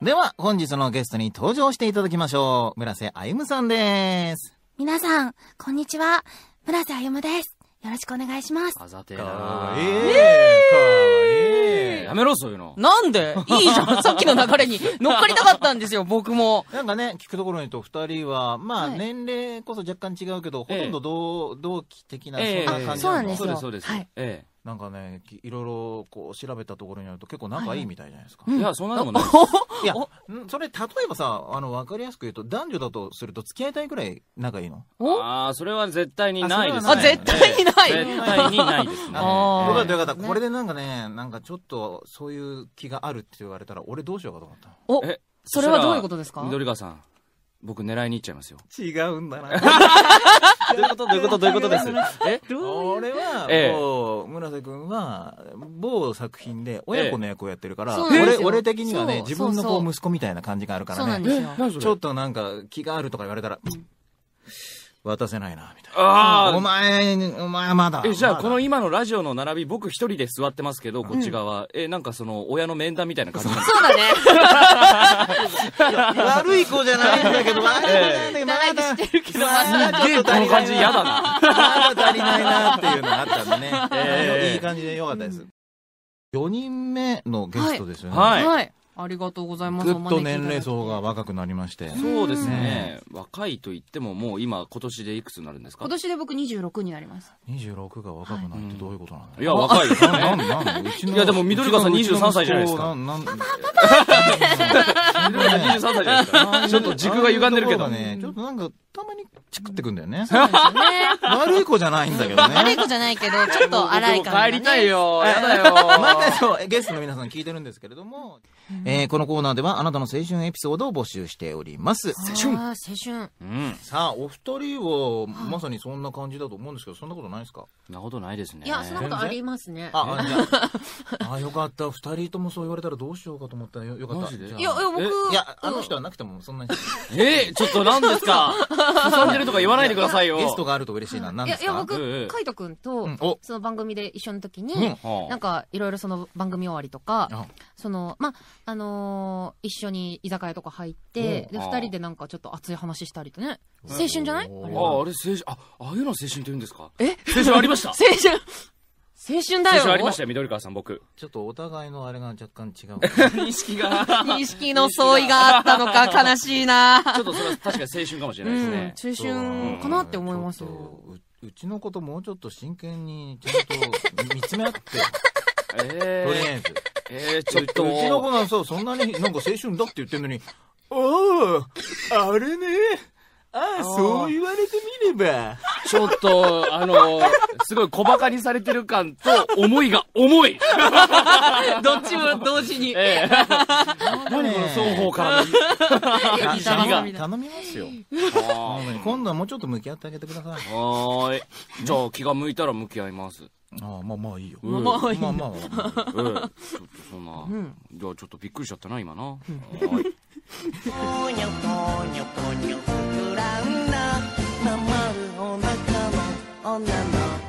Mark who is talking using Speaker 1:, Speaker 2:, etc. Speaker 1: では、本日のゲストに登場していただきましょう。村瀬歩さんです。
Speaker 2: 皆さん、こんにちは。村瀬歩夢です。よろしくお願いします。
Speaker 3: あざてえ
Speaker 4: か
Speaker 3: な
Speaker 4: わ
Speaker 3: あ
Speaker 4: いい。
Speaker 3: やめろ、そういうの。
Speaker 5: なんでいいじ ゃん。さっきの流れに乗っかりたかったんですよ、僕も。
Speaker 1: なんかね、聞くところによると、二人は、まあ、
Speaker 2: はい
Speaker 1: 年齢こそ若干違うけど、
Speaker 3: ええ
Speaker 1: ほとんど同同期的な、
Speaker 3: ええ
Speaker 1: そんな感じ
Speaker 2: あそうなんです
Speaker 3: そう
Speaker 2: よ
Speaker 3: です、そうです
Speaker 2: はい。
Speaker 3: え
Speaker 1: なんかね、きいろいろこう調べたところによると、結構仲いいみたいじゃないですか。
Speaker 3: え。いや、そんなのもね。
Speaker 1: い、や、んそれ、例えばさ、あの、わかりやすく言うと、男女だとすると、付き合いたいぐらい仲いいの
Speaker 5: お
Speaker 3: ああ、それは絶対にないですね。
Speaker 1: あそれはない
Speaker 5: あ絶対にない
Speaker 3: ええ絶対にないですね。
Speaker 5: あー
Speaker 1: よかったよかった、
Speaker 2: ね
Speaker 1: これでなんかね、なんかちょっと、そういう気があるって言われたら、俺どうしようかと思った。
Speaker 5: お
Speaker 3: え
Speaker 5: それはどういうことですか
Speaker 3: 緑川さん、僕狙いに行っちゃいますよ。
Speaker 1: 違うんだ な。
Speaker 3: どういうことどういうことどういうことです。え
Speaker 1: 俺は、
Speaker 3: ええ
Speaker 1: こう、村瀬くんは、某作品で親子の役をやってるから、
Speaker 2: ええそうなんで
Speaker 1: 俺、
Speaker 2: すよ
Speaker 1: 俺的にはね、
Speaker 2: そう
Speaker 1: 自分のこ
Speaker 2: そう
Speaker 1: う、
Speaker 2: そう
Speaker 1: 息子みたいな感じがあるか
Speaker 2: そうな
Speaker 1: ら
Speaker 2: ん
Speaker 1: ね、
Speaker 2: ですよ。
Speaker 1: ちょっとなんか気があるとか言われたら、渡せないな、みたい
Speaker 3: あ
Speaker 1: な。お
Speaker 3: あ。
Speaker 1: 前、お前まだ。
Speaker 3: え、じゃあ、
Speaker 1: まだ
Speaker 3: この今のラジオの並び、僕一人で座ってますけど、こっち側。え、なんかその、親の面談みたいな感じなんです
Speaker 2: そうだ ね。
Speaker 1: 悪い子じゃないんだ けど、悪い子じゃないんだけど、まだ、
Speaker 3: かすげえこの感じ嫌だな。
Speaker 1: まだ足りないなっていうのがあったんでね。
Speaker 3: え
Speaker 1: い
Speaker 3: え
Speaker 1: い感じでよかったです。4人目のゲストですよね。
Speaker 3: はい
Speaker 5: はい。ありがとうございます。
Speaker 1: ぐっ
Speaker 5: お
Speaker 1: と
Speaker 5: 招きいただい
Speaker 1: 年
Speaker 5: て
Speaker 1: 齢層が若くなりまして。
Speaker 3: そうです
Speaker 1: ね
Speaker 3: ね。若いと言っても、もう今、今年でいくつになるんですか
Speaker 5: 今年で僕26になります。
Speaker 1: 26が若くなるってどういうことなんだ
Speaker 3: いや、若いですね。
Speaker 1: なんなんなんうちの
Speaker 3: いやでも緑川さん
Speaker 1: うちの
Speaker 3: 23歳じゃないですか
Speaker 1: うちの息子なんなん
Speaker 3: 23歳じゃないですか。 ちょっと軸が歪んでるけど。
Speaker 1: ああいうところがね、ちょっとなんか、たまにチクってくんだよね。
Speaker 2: そうですよね。
Speaker 1: 悪い子じゃないんだけどね。
Speaker 2: 悪い子じゃないけど、ちょっと荒い感じ、ね。
Speaker 3: 帰りたい。よ。やだよ。
Speaker 1: またそうゲストの皆さん聞いてるんですけれども、えーこのコーナーではあなたの青春エピソードを募集しております。
Speaker 2: あー青春。
Speaker 3: うん。
Speaker 1: さあ、お二人は、まさにそんな感じだと思うんですけど、そんなことないですか
Speaker 3: そんなことないですね。
Speaker 2: いや、そんなことありますね。
Speaker 1: あ、あじゃあ、あよかった。二人ともそう言われたらどうしようかと思ったよ。よかった。
Speaker 3: マジで
Speaker 1: じゃあ
Speaker 2: いや、いや僕、
Speaker 3: え
Speaker 1: いや、あの人はなくてもそんなに。
Speaker 3: えちょっと何です か進んでるとか言わないでくださいよ。
Speaker 1: ゲストがあると嬉しいな。何で
Speaker 2: いや、い
Speaker 1: す
Speaker 2: や、
Speaker 1: か
Speaker 3: え
Speaker 2: 僕
Speaker 3: え、
Speaker 2: カイト君
Speaker 1: う
Speaker 2: と
Speaker 1: ん、お、
Speaker 2: その番組で一緒の時に、
Speaker 1: うん
Speaker 3: はあ
Speaker 2: なんか、いろいろその番組終わりと
Speaker 1: あ
Speaker 2: か、その、ま、あのー一緒に居酒屋とか入って、
Speaker 1: う
Speaker 2: で、
Speaker 3: あ
Speaker 2: 二
Speaker 3: ー
Speaker 2: 人でなんかちょっと熱い話したりとね。青春じゃない
Speaker 1: お
Speaker 3: あ、あ
Speaker 1: ー
Speaker 3: れ青春、あ、ああいうの青春って言うんですか
Speaker 2: え
Speaker 3: 青春あり ました
Speaker 2: 青春青春だ
Speaker 3: 青
Speaker 2: よ
Speaker 3: 春ありましたよ、緑川さん、僕。
Speaker 1: ちょっとお互いのあれが若干違う。
Speaker 3: 認識が。 ち
Speaker 5: 認識の相違があったのか、悲しいな
Speaker 3: ょっとそれは確かに青春かもしれ
Speaker 5: う
Speaker 3: ないです
Speaker 5: ん
Speaker 3: ね。。
Speaker 5: 中春かなって思います
Speaker 1: ちょっ
Speaker 5: よ。
Speaker 1: とううちのこともうちょっと真剣にちゃんと見つめ合って、
Speaker 3: え
Speaker 1: とりあ
Speaker 3: ー
Speaker 1: えず。
Speaker 3: えー、ちょっ
Speaker 1: うちの
Speaker 3: と。
Speaker 1: 子なんさ、そんなになんか青春だって言ってんのに、おあ、あれね。ああ、そう言われてみれば。
Speaker 3: ちょっと、あの、すごい小馬鹿にされてる感と、思いが重い
Speaker 5: どっちも同時に。
Speaker 3: ええ
Speaker 1: 何この
Speaker 3: 双方からの。
Speaker 1: 頼み
Speaker 3: 痛みが
Speaker 1: 頼みますよ。
Speaker 3: あ
Speaker 1: 今度はもうちょっと向き合ってあげてください。
Speaker 3: ーはーい。じゃあ気が向いたら向き合います。
Speaker 1: ああ、まあまあいいよ。
Speaker 3: うん
Speaker 1: まあまあまあ。
Speaker 3: ええ、ちょっとそんな、いやちょっとびっくりしちゃったな今な、はい
Speaker 6: 膨らんだままるお腹の女の